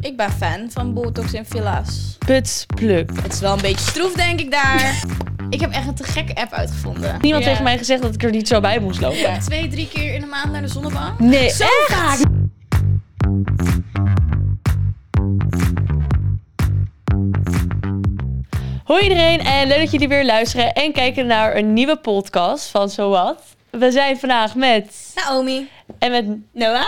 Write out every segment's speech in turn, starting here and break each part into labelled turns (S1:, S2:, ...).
S1: Ik ben fan van botox en villa's.
S2: Putspluk.
S1: Het is wel een beetje stroef, denk ik daar. ik heb echt een te gekke app uitgevonden.
S2: Niemand
S3: Ja.
S2: heeft mij gezegd dat ik er niet zo bij moest lopen.
S1: Ja, twee, drie keer in de maand naar de zonnebank.
S2: Nee,
S1: Zo
S2: echt?
S1: vaak.
S2: Hoi iedereen en leuk dat jullie weer luisteren en kijken naar een nieuwe podcast van Zowat. We zijn vandaag met...
S1: Naomi.
S2: En met
S3: Noah,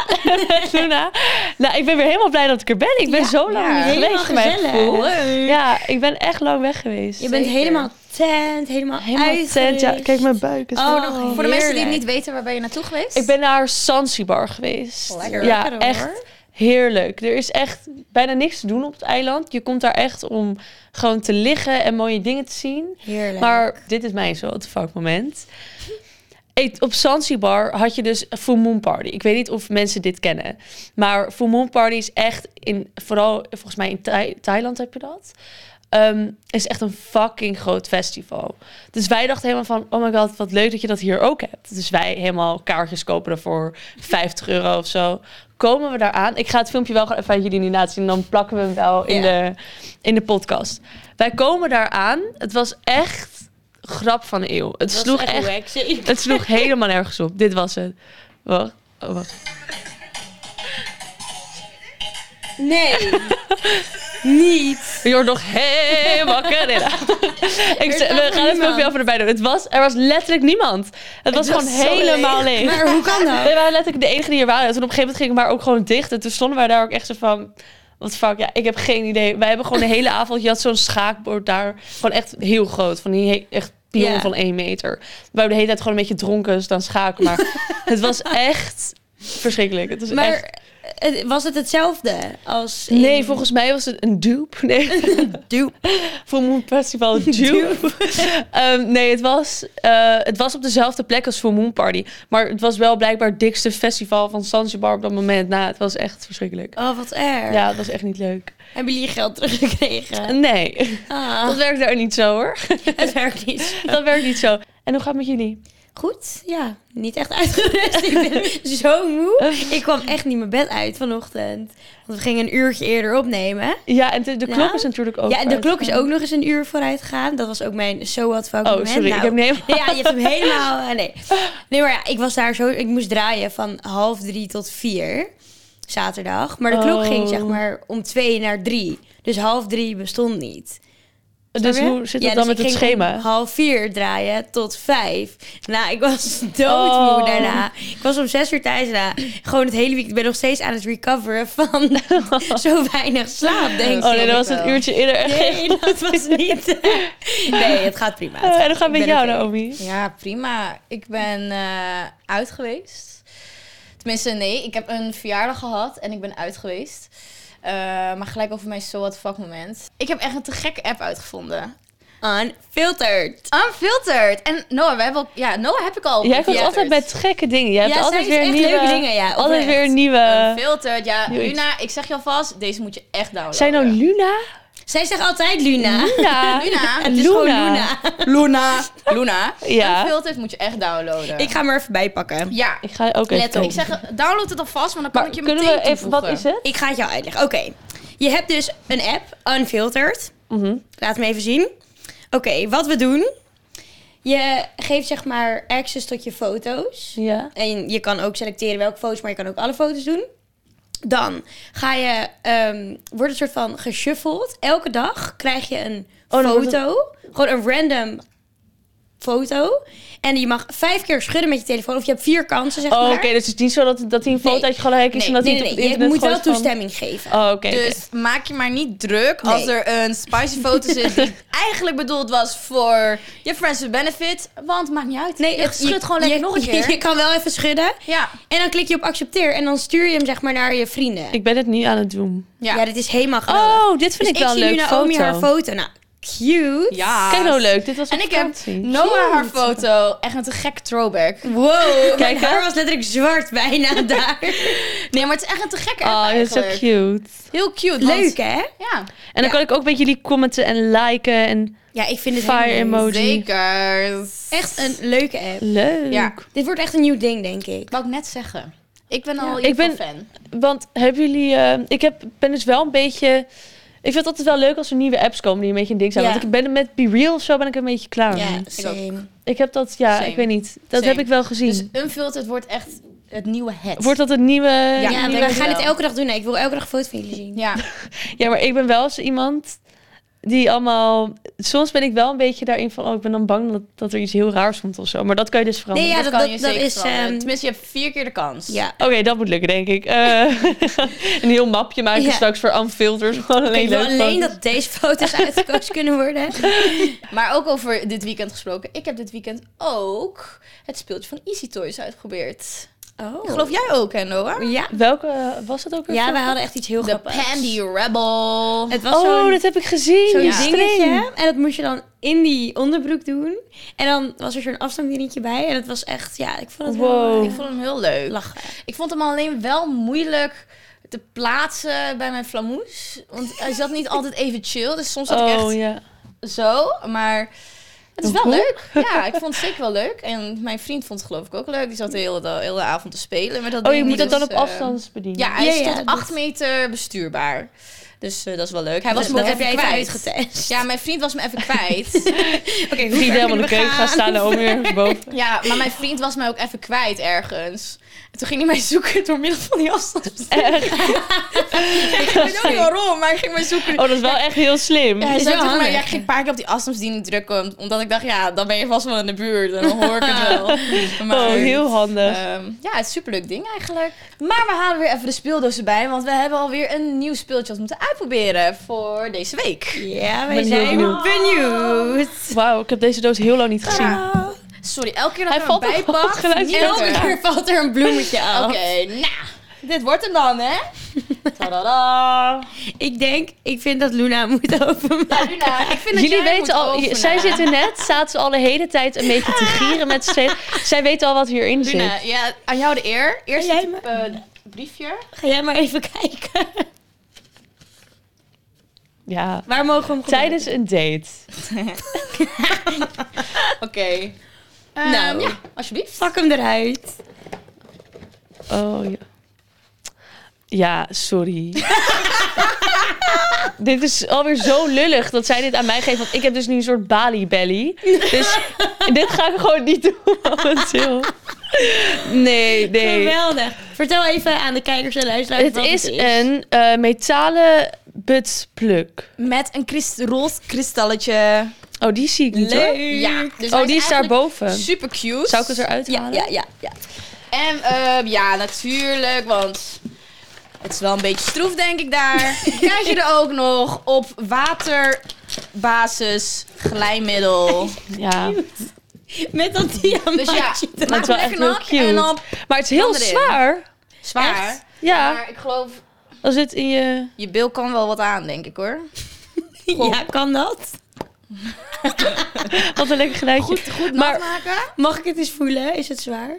S2: Luna. Nou, ik ben weer helemaal blij dat ik er ben. Ik ben
S1: Ja,
S2: zo lang
S3: ja,
S2: niet geweest,
S3: helemaal
S2: voor mijn
S3: gezellig.
S2: gevoel.
S3: Leuk.
S2: Ja, ik ben echt lang weg geweest.
S3: je bent
S1: Zeker.
S3: helemaal tent, helemaal,
S2: helemaal tent. Ja, kijk, mijn buik is...
S3: Oh,
S1: Voor de mensen die het niet weten, waar ben je naartoe geweest?
S2: Ik ben naar Zanzibar geweest.
S1: Lekker.
S2: Ja,
S3: Lekker, hoor.
S2: echt heerlijk. Er is echt bijna niks te doen op het eiland. Je komt daar echt om gewoon te liggen en mooie dingen te zien.
S3: Heerlijk.
S2: Maar dit is mijn zo what the fuck moment. Eh, Op Zanzibar had je dus een Full Moon Party. Ik weet niet of mensen dit kennen. Maar Full Moon Party is echt, in, vooral volgens mij in Thai- Thailand heb je dat. Ehm, is echt een fucking groot festival. Dus wij dachten helemaal van, oh my god, wat leuk dat je dat hier ook hebt. Dus wij helemaal kaartjes kopen voor 50 euro of zo. Komen we daar aan. Ik ga het filmpje wel gewoon even aan jullie nu laten zien. Dan plakken we hem wel
S1: Ja.
S2: in, de, in de podcast. Wij komen daar aan. Het was echt grap van de eeuw. Het
S3: Dat
S2: sloeg
S3: is
S2: echt,
S3: wacky.
S2: het sloeg helemaal nergens op. Dit was het. Wacht. Oh, wacht.
S3: Nee, niet.
S2: Je hoort nog hey Macarena. nou. ik
S3: is
S2: zeg, we
S3: nog
S2: gaan het
S3: niemand.
S2: filmpje even erbij doen. Het was, er was letterlijk niemand. Het, was
S1: was
S2: gewoon
S1: zo
S2: helemaal leeg.
S3: Maar hoe kan dat?
S2: Wij waren letterlijk de enige die er waren. En toen op een gegeven moment ging het maar ook gewoon dicht. En toen stonden wij daar ook echt zo van... Wat fuck, ja, ik heb geen idee. Wij hebben gewoon de hele avond... Je had zo'n schaakbord daar. Gewoon echt heel groot. Van die he- echt pion
S3: Ja.
S2: van één meter. We hebben de hele tijd gewoon een beetje dronken staan schaken. Maar het was echt verschrikkelijk. Het was
S3: Maar
S2: echt...
S3: het- was het hetzelfde als... in-
S2: Nee, volgens mij was het een dupe. Nee.
S3: Dupe.
S2: Voor Moon Festival dupe. Ehm, nee, het was, eh, het was op dezelfde plek als Full Moon Party. Maar het was wel blijkbaar het dikste festival van Zanzibar op dat moment. Nou, het was echt verschrikkelijk.
S3: Oh, wat erg.
S2: Ja, het was echt niet leuk.
S3: Hebben jullie je geld teruggekregen?
S2: Nee, dat
S3: Ah,
S2: werkt daar niet zo hoor.
S3: het werkt niet.
S2: Dat werkt niet zo. En hoe gaat het met jullie?
S3: Goed, ja. Niet echt uitgerust. ik ben zo moe. Ik kwam echt niet mijn bed uit vanochtend. Want we gingen een uurtje eerder opnemen.
S2: Ja, en de, de
S3: Nou,
S2: klok is natuurlijk ook.
S3: Ja, en de
S2: uit.
S3: klok is ook nog eens een uur vooruit gegaan. Dat was ook mijn so what fuck
S2: Oh,
S3: moment.
S2: sorry, ik
S3: Nou,
S2: heb niet helemaal-
S3: Ja, je hebt hem helemaal... eh, Nee. nee, maar ja, ik was daar zo... Ik moest draaien van half drie tot vier. Zaterdag. Maar de klok
S2: Oh.
S3: ging zeg maar om twee naar drie. Dus half drie bestond niet. Snap
S2: Dus
S3: je?
S2: hoe zit
S3: Ja,
S2: dat dan
S3: dus
S2: met
S3: ik
S2: het
S3: ging om
S2: schema? Oh,
S3: half vier draaien tot vijf. Nou, ik was doodmoe
S2: Oh.
S3: daarna. Ik was om zes uur thuis daarna. Gewoon het hele weekend. Ik ben nog steeds aan het recoveren van zo weinig slaap, denk
S2: Oh nee,
S3: ik.
S2: dat was
S1: wel.
S2: het uurtje eerder. echt geen-
S3: Nee, dat was niet. Nee, het gaat prima.
S2: Eh, en hoe gaat het met jou,
S3: nou
S2: Naomi?
S1: Ja, prima. Ik ben eh, uit geweest. Tenminste, nee, ik heb een verjaardag gehad en ik ben uit geweest. Eh, maar gelijk over mijn so what the fuck moment. Ik heb echt een te gekke app uitgevonden.
S3: Unfiltered.
S1: Unfiltered. En Noah, we hebben al, ja, Noah heb ik al.
S2: Jij komt altijd
S1: gefilterd.
S2: met gekke dingen. Jij hebt
S3: ja, zij
S2: altijd
S3: is
S2: weer
S3: echt
S2: nieuwe...
S3: leuke dingen, ja.
S2: Altijd
S3: oprecht.
S2: weer nieuwe...
S1: Unfiltered, ja.
S2: Joh, Eh, iets.
S1: Luna, ik zeg je alvast, deze moet je echt downloaden.
S2: Zijn nou Luna?
S3: eh, Zij zegt altijd Luna.
S2: Luna.
S1: Luna.
S3: Het is
S2: Luna.
S3: gewoon Luna.
S1: Luna. Luna.
S2: Ja.
S1: Unfiltered moet je echt downloaden.
S3: Ik ga hem er even bij pakken.
S1: Ja,
S2: Ik ga ook even
S1: let op. Ik
S2: kijken.
S1: zeg, download het alvast, want dan kan
S2: maar
S1: ik je
S2: kunnen
S1: meteen
S2: we even... Wat
S1: toevoegen.
S2: is het?
S3: Ik ga het jou uitleggen. Oké. Je hebt dus een app, Unfiltered.
S2: Mhm.
S3: Laat me even zien. Oké, wat we doen. Je geeft zeg maar access tot je foto's.
S2: Ja.
S3: En je kan ook selecteren welke foto's, maar je kan ook alle foto's doen. Dan ga je, ehm, wordt een soort van geshuffeld. Elke dag krijg je een
S2: Oh, dan wordt
S3: foto. Gewoon een random foto. En je mag vijf keer schudden met je telefoon. Of je hebt vier kansen, zeg
S2: Oh,
S3: maar.
S2: oké. dus het is niet zo dat, dat hij een
S3: Nee.
S2: foto uit je gelijk is
S3: Nee,
S2: en dat
S3: nee,
S2: hij
S3: nee,
S2: het
S3: nee.
S2: op
S3: Je
S2: internet
S3: moet wel
S2: gooit van-
S3: toestemming geven.
S2: Oh, oké. oké.
S1: Dus maak je maar niet druk als
S3: Nee.
S1: er een spicy foto zit die eigenlijk bedoeld was voor je friends with benefit. Want maakt niet uit. je
S3: het-
S1: schudt gewoon lekker
S3: je-
S1: nog een keer.
S3: Je kan wel even schudden.
S1: ja.
S3: En dan klik je op accepteer. En dan stuur je hem zeg maar naar je vrienden.
S2: Ik ben het nu aan het doen.
S1: Ja.
S3: Ja, dit is helemaal geweldig.
S2: Oh, dit vind
S3: Dus
S2: ik wel een
S3: zie nu
S2: leuk
S3: Naomi
S2: foto.
S3: haar foto. Nou, cute.
S1: Ja.
S2: Kijk nou leuk. Dit was
S1: En
S2: op
S1: ik heb
S2: vakantie.
S1: Noah haar foto. Echt een te gek throwback.
S3: Wow,
S2: Kijk,
S3: mijn
S2: hè?
S3: haar was letterlijk zwart bijna daar.
S1: Nee, maar het is echt een te gekke app
S2: Oh, dit is zo
S1: eigenlijk.
S2: cute.
S1: Heel cute. want-
S3: Leuk, hè?
S1: Ja.
S2: En dan
S3: Ja.
S2: kan ik ook met jullie commenten en liken en
S3: Ja, ik vind het
S2: fire
S3: helemaal leuk.
S2: emoji.
S1: Zeker.
S3: Echt een leuke app.
S2: Leuk.
S1: Ja.
S3: Dit wordt echt een nieuw ding, denk ik.
S1: Wou ik net zeggen. Ik ben al
S2: Ik
S1: ik
S2: ben-
S1: ben fan.
S2: Want hebben jullie... eh, ik heb, ben dus wel een beetje... Ik vind het altijd wel leuk als er nieuwe apps komen die een beetje een ding zijn.
S3: Ja.
S2: Want ik ben met Be Real of zo ben ik een beetje klaar.
S1: Ja.
S2: mee.
S1: ik ook.
S2: Ik heb dat, ja,
S1: Same.
S2: ik weet niet. Dat
S1: Same.
S2: heb ik wel gezien.
S1: Dus Unfiltered wordt echt het nieuwe het.
S2: Wordt dat een nieuwe...
S1: Ja,
S3: Ja,
S1: ik
S3: we
S1: denk
S3: gaan
S1: het
S3: het
S1: wel.
S3: elke dag doen. Nee, ik wil elke dag een foto van jullie zien.
S1: Ja,
S2: Ja, maar ik ben wel eens iemand die allemaal... Soms ben ik wel een beetje daarin van... Oh, ik ben dan bang dat, dat er iets heel raars komt of zo. Maar dat kan je dus veranderen.
S3: Nee, ja,
S1: dat,
S3: dat-
S1: kan je
S3: dat- dat
S1: zeker
S3: is,
S1: veranderen.
S3: ehm,
S1: Tenminste, je hebt vier keer de kans.
S3: Ja.
S2: Oké, dat moet lukken, denk ik. Eh, een heel mapje maken
S3: Ja.
S2: straks voor unfilters. Gewoon alleen
S3: ik wil
S2: leuk
S3: alleen
S2: foto's.
S3: dat deze foto's uitgekozen kunnen worden.
S1: Maar ook over dit weekend gesproken. Ik heb dit weekend ook het speeltje van Easy Toys uitgeprobeerd.
S3: Oh.
S1: Geloof jij ook, hè, Noah?
S3: Ja.
S2: Welke eh, was dat ook weer?
S3: Ja, we
S2: voor?
S3: hadden echt iets heel
S1: De
S3: grappigs.
S1: Pandy Rebel.
S3: Het was
S2: Oh,
S3: zo'n
S2: dat heb ik gezien.
S3: zo'n
S2: die
S1: ja.
S2: string.
S3: dingetje. En dat moest je dan in die onderbroek doen. En dan was er zo'n afstandsdingetje bij. En dat was echt, ja, ik vond het
S2: Wow.
S3: wel...
S1: Ik vond hem heel leuk.
S3: lachen.
S1: Ik vond hem alleen wel moeilijk te plaatsen bij mijn flamoes. Want hij zat niet altijd even chill. Dus soms zat ik echt
S2: Oh, ja.
S1: zo. Maar het is wel
S2: Hoe?
S1: leuk. Ja, ik vond het zeker wel leuk. En mijn vriend vond het geloof ik ook leuk. Die zat de hele, de hele avond te spelen. Maar dat
S2: Oh,
S1: ding
S2: je moet
S1: niet,
S2: het dan
S1: dus,
S2: op
S1: eh,
S2: afstand bedienen.
S1: Ja, hij is
S3: Ja, ja,
S1: tot
S3: dat-
S1: 8 meter bestuurbaar. Dus eh, dat is wel leuk. Hij
S3: Dat-
S1: was me
S3: dat
S1: wel
S3: heb
S1: even
S3: jij even
S1: kwijt.
S3: uitgetest.
S1: Ja, mijn vriend was me even kwijt.
S3: Oké, hoe
S2: Niet
S3: ver
S2: helemaal in de
S3: kunnen we
S2: keuken gaan staan en weer boven.
S1: ja, maar mijn vriend was mij ook even kwijt ergens. En toen ging hij mij zoeken door middel van die afstand.
S2: Echt.
S1: Ik weet ook niet waarom, maar hij ging mij zoeken.
S2: Oh, dat is wel echt heel slim.
S1: Ja, hij
S3: Is
S1: zei
S3: wel
S1: tegen mij, ja,
S3: handig.
S1: ik ging een paar keer op die afstandsbediening drukken. om- Omdat ik dacht, ja, dan ben je vast wel in de buurt. En dan hoor ik het wel. Maar,
S2: Ah. Oh, heel handig.
S1: ehm, ja, het is een superleuk ding eigenlijk. Maar we halen weer even de speeldoos erbij. Want we hebben alweer een nieuw speeltje dat we moeten uitproberen voor deze week.
S3: Ja, wij
S2: ben heel
S3: zijn
S2: benieuwd.
S3: benieuwd.
S2: Wauw, ik heb deze doos heel lang niet gezien.
S3: Ah.
S1: Sorry, elke keer dat
S2: Hij
S1: ik
S2: valt
S1: hem erbij
S2: ook op
S1: pak,
S2: het geluid.
S1: niet
S3: En elke
S1: lekker.
S3: keer valt er een bloemetje af.
S2: Oh.
S1: Oké, nou, dit wordt hem dan, hè? Tadada.
S3: Ik denk, ik vind dat Luna moet openmaken.
S1: Luna, ik vind dat
S2: Jullie
S1: jij moet
S2: weten al,
S1: openen.
S2: zij zitten net, zaten ze al de hele tijd een beetje te gieren met z'n tweeën. Zij weten al wat hierin
S1: Luna,
S2: zit.
S1: ja, aan jou de eer. Eerst
S3: jij
S1: het eh, briefje.
S3: Ga jij maar even kijken.
S2: Ja.
S3: Waar mogen we hem
S2: Tijdens een date.
S1: Oké.
S3: Nou.
S1: nou, Ehm, ja, alsjeblieft.
S3: Pak hem eruit.
S2: Oh ja. Ja, sorry. dit is alweer zo lullig dat zij dit aan mij geeft. Want ik heb dus nu een soort Bali belly. Dus dit ga ik gewoon niet doen momenteel. Nee, nee.
S3: Geweldig. Vertel even aan de kijkers en luisteraars
S2: Het
S3: wat
S2: is
S3: het
S2: een eh, metalen buttplug.
S1: Met een krist roze kristalletje.
S2: Oh, die zie ik niet hoor.
S3: Leuk.
S1: Ja, dus hij
S2: Oh, die is
S1: eigenlijk
S2: daarboven.
S1: Super cute.
S2: Zou ik het eruit
S3: Ja,
S2: halen?
S3: ja, ja, ja.
S1: En ehm, ja, natuurlijk, want het is wel een beetje stroef, denk ik daar. Krijg je er ook nog op waterbasis glijmiddel.
S2: Ja.
S3: Met dat diamantje.
S1: Dus ja,
S3: erop.
S1: maak
S2: is wel
S1: hem
S2: echt
S1: lekker nat en
S2: heel cute.
S1: dan
S2: Maar het is heel
S1: Kan erin.
S2: zwaar.
S1: zwaar.
S3: Echt?
S2: Ja,
S1: Maar ik geloof,
S2: als het in je...
S1: je bil kan wel wat aan, denk ik hoor.
S3: ja, kan dat?
S2: Wat een lekker geluidje.
S1: Goed, goed nat
S2: Maar-
S1: maken.
S3: Mag ik het eens voelen? Is het zwaar?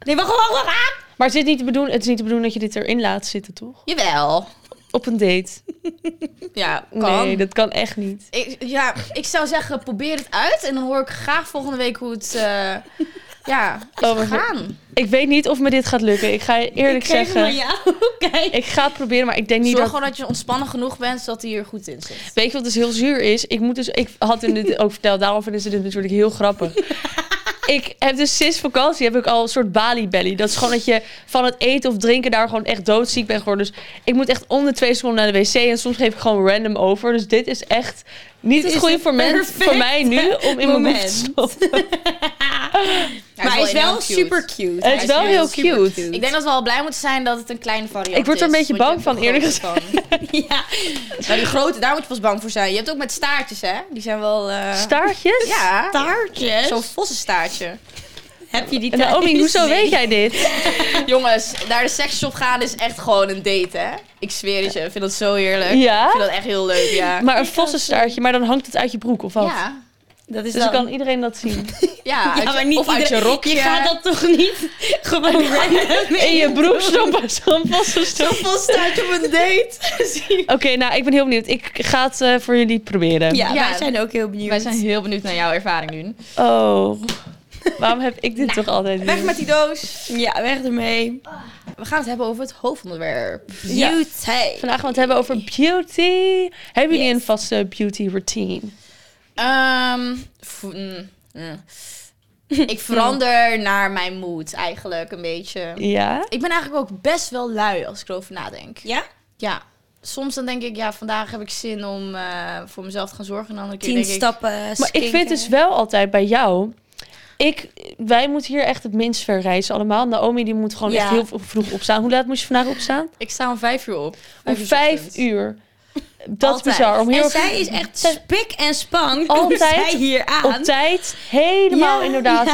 S3: Nee, wacht, wacht, wacht. Ah!
S2: Maar het is, niet te bedoelen, het is niet te bedoelen dat je dit erin laat zitten, toch?
S1: Jawel.
S2: Op een date.
S1: Ja, kan.
S2: Nee, dat kan echt niet.
S1: Ik, ja, ik zou zeggen, probeer het uit. En dan hoor ik graag volgende week hoe het eh, ja, is
S2: Oh, maar-
S1: gegaan.
S2: Ik weet niet of me dit gaat lukken. Ik ga je eerlijk
S3: ik geef
S2: zeggen.
S3: hem aan jou. Kijk.
S2: Ik ga het proberen, maar ik denk niet
S1: Zorg
S2: dat...
S1: gewoon dat je ontspannen genoeg bent, zodat hij hier goed in zit.
S2: Weet je wat dus heel zuur is? Ik, moet dus, ik had hem dit ook verteld, daarom vinden ze dit natuurlijk heel grappig. ik heb dus sinds vakantie heb ik al een soort Bali belly. Dat is gewoon dat je van het eten of drinken daar gewoon echt doodziek bent geworden. Dus ik moet echt om de twee seconden naar de wc en soms geef ik gewoon random over. Dus dit is echt niet
S3: Dit
S2: het
S3: is
S2: goede
S3: het
S2: voor, men-
S3: perfecte
S2: voor mij nu om in mijn boek
S3: moment.
S2: te stoppen.
S1: Hij
S3: maar hij is wel
S1: heel cute.
S3: super cute.
S2: Het is wel heel cute.
S1: Ik denk dat we al blij moeten zijn dat het een kleine variant is.
S2: Ik word er een beetje
S1: want je
S2: bang
S1: hebt
S2: van,
S1: een grote van.
S3: Ja.
S1: Nou, die grote, daar moet je pas bang voor zijn. Je hebt ook met staartjes, hè? Die zijn wel... eh,
S2: Staartjes?
S1: Ja,
S3: Taartjes.
S1: zo'n vossenstaartje.
S3: heb je die
S2: En Naomi,
S3: thuis?
S2: hoezo
S3: Nee.
S2: weet jij dit?
S1: Jongens, naar de seksshop gaan is echt gewoon een date, hè? Ik zweer het je, ik vind dat zo heerlijk.
S2: Ja?
S1: Ik vind dat echt heel leuk, ja.
S2: Maar een vossenstaartje, maar dan hangt het uit je broek, of wat?
S1: ja.
S3: Dat is
S2: Dus
S3: dan...
S2: dan kan iedereen dat zien.
S1: Ja, uit
S3: Ja,
S1: je-
S3: maar niet
S1: of uit je
S3: iedereen-
S1: rokje.
S3: Je gaat dat toch niet gewoon random
S2: In je broek stoppen, zo'n vossenstaartje.
S1: staat je op een date.
S2: Oké, nou, ik ben heel benieuwd. Ik ga het eh, voor jullie proberen.
S3: Ja,
S1: Ja.
S3: wij zijn ook heel benieuwd.
S1: Wij zijn heel benieuwd naar jouw ervaring nu.
S2: Oh. Waarom heb ik dit toch altijd niet?
S1: Weg met die doos.
S3: Ja, weg ermee.
S1: We gaan het hebben over het hoofdonderwerp.
S2: Ja.
S3: Beauty.
S2: Vandaag gaan we het hebben over beauty. Hebben jullie
S3: Yes.
S2: een vaste beauty routine?
S1: Ehm, v- mm, mm. Ik verander naar mijn mood eigenlijk een beetje.
S2: Ja?
S1: Ik ben eigenlijk ook best wel lui als ik erover nadenk.
S3: Ja?
S1: Ja. Soms dan denk ik, ja, vandaag heb ik zin om eh, voor mezelf te gaan zorgen. En de andere keer
S3: Tien
S1: denk ik,
S3: stappen
S2: Maar ik vind dus wel altijd bij jou... Ik, wij moeten hier echt het minst ver reizen allemaal. Naomi die moet gewoon
S3: Ja.
S2: echt heel v- vroeg opstaan. Hoe laat moest je vandaag opstaan?
S1: ik sta om vijf uur op.
S2: Om vijf
S1: ochtends.
S2: uur. Dat is
S1: Altijd.
S2: bizar. Om heel
S3: En
S2: erg-
S3: zij is echt spik en span.
S2: Altijd
S3: Komt zij hier
S2: op
S3: aan.
S2: tijd. Helemaal
S3: Ja,
S2: inderdaad.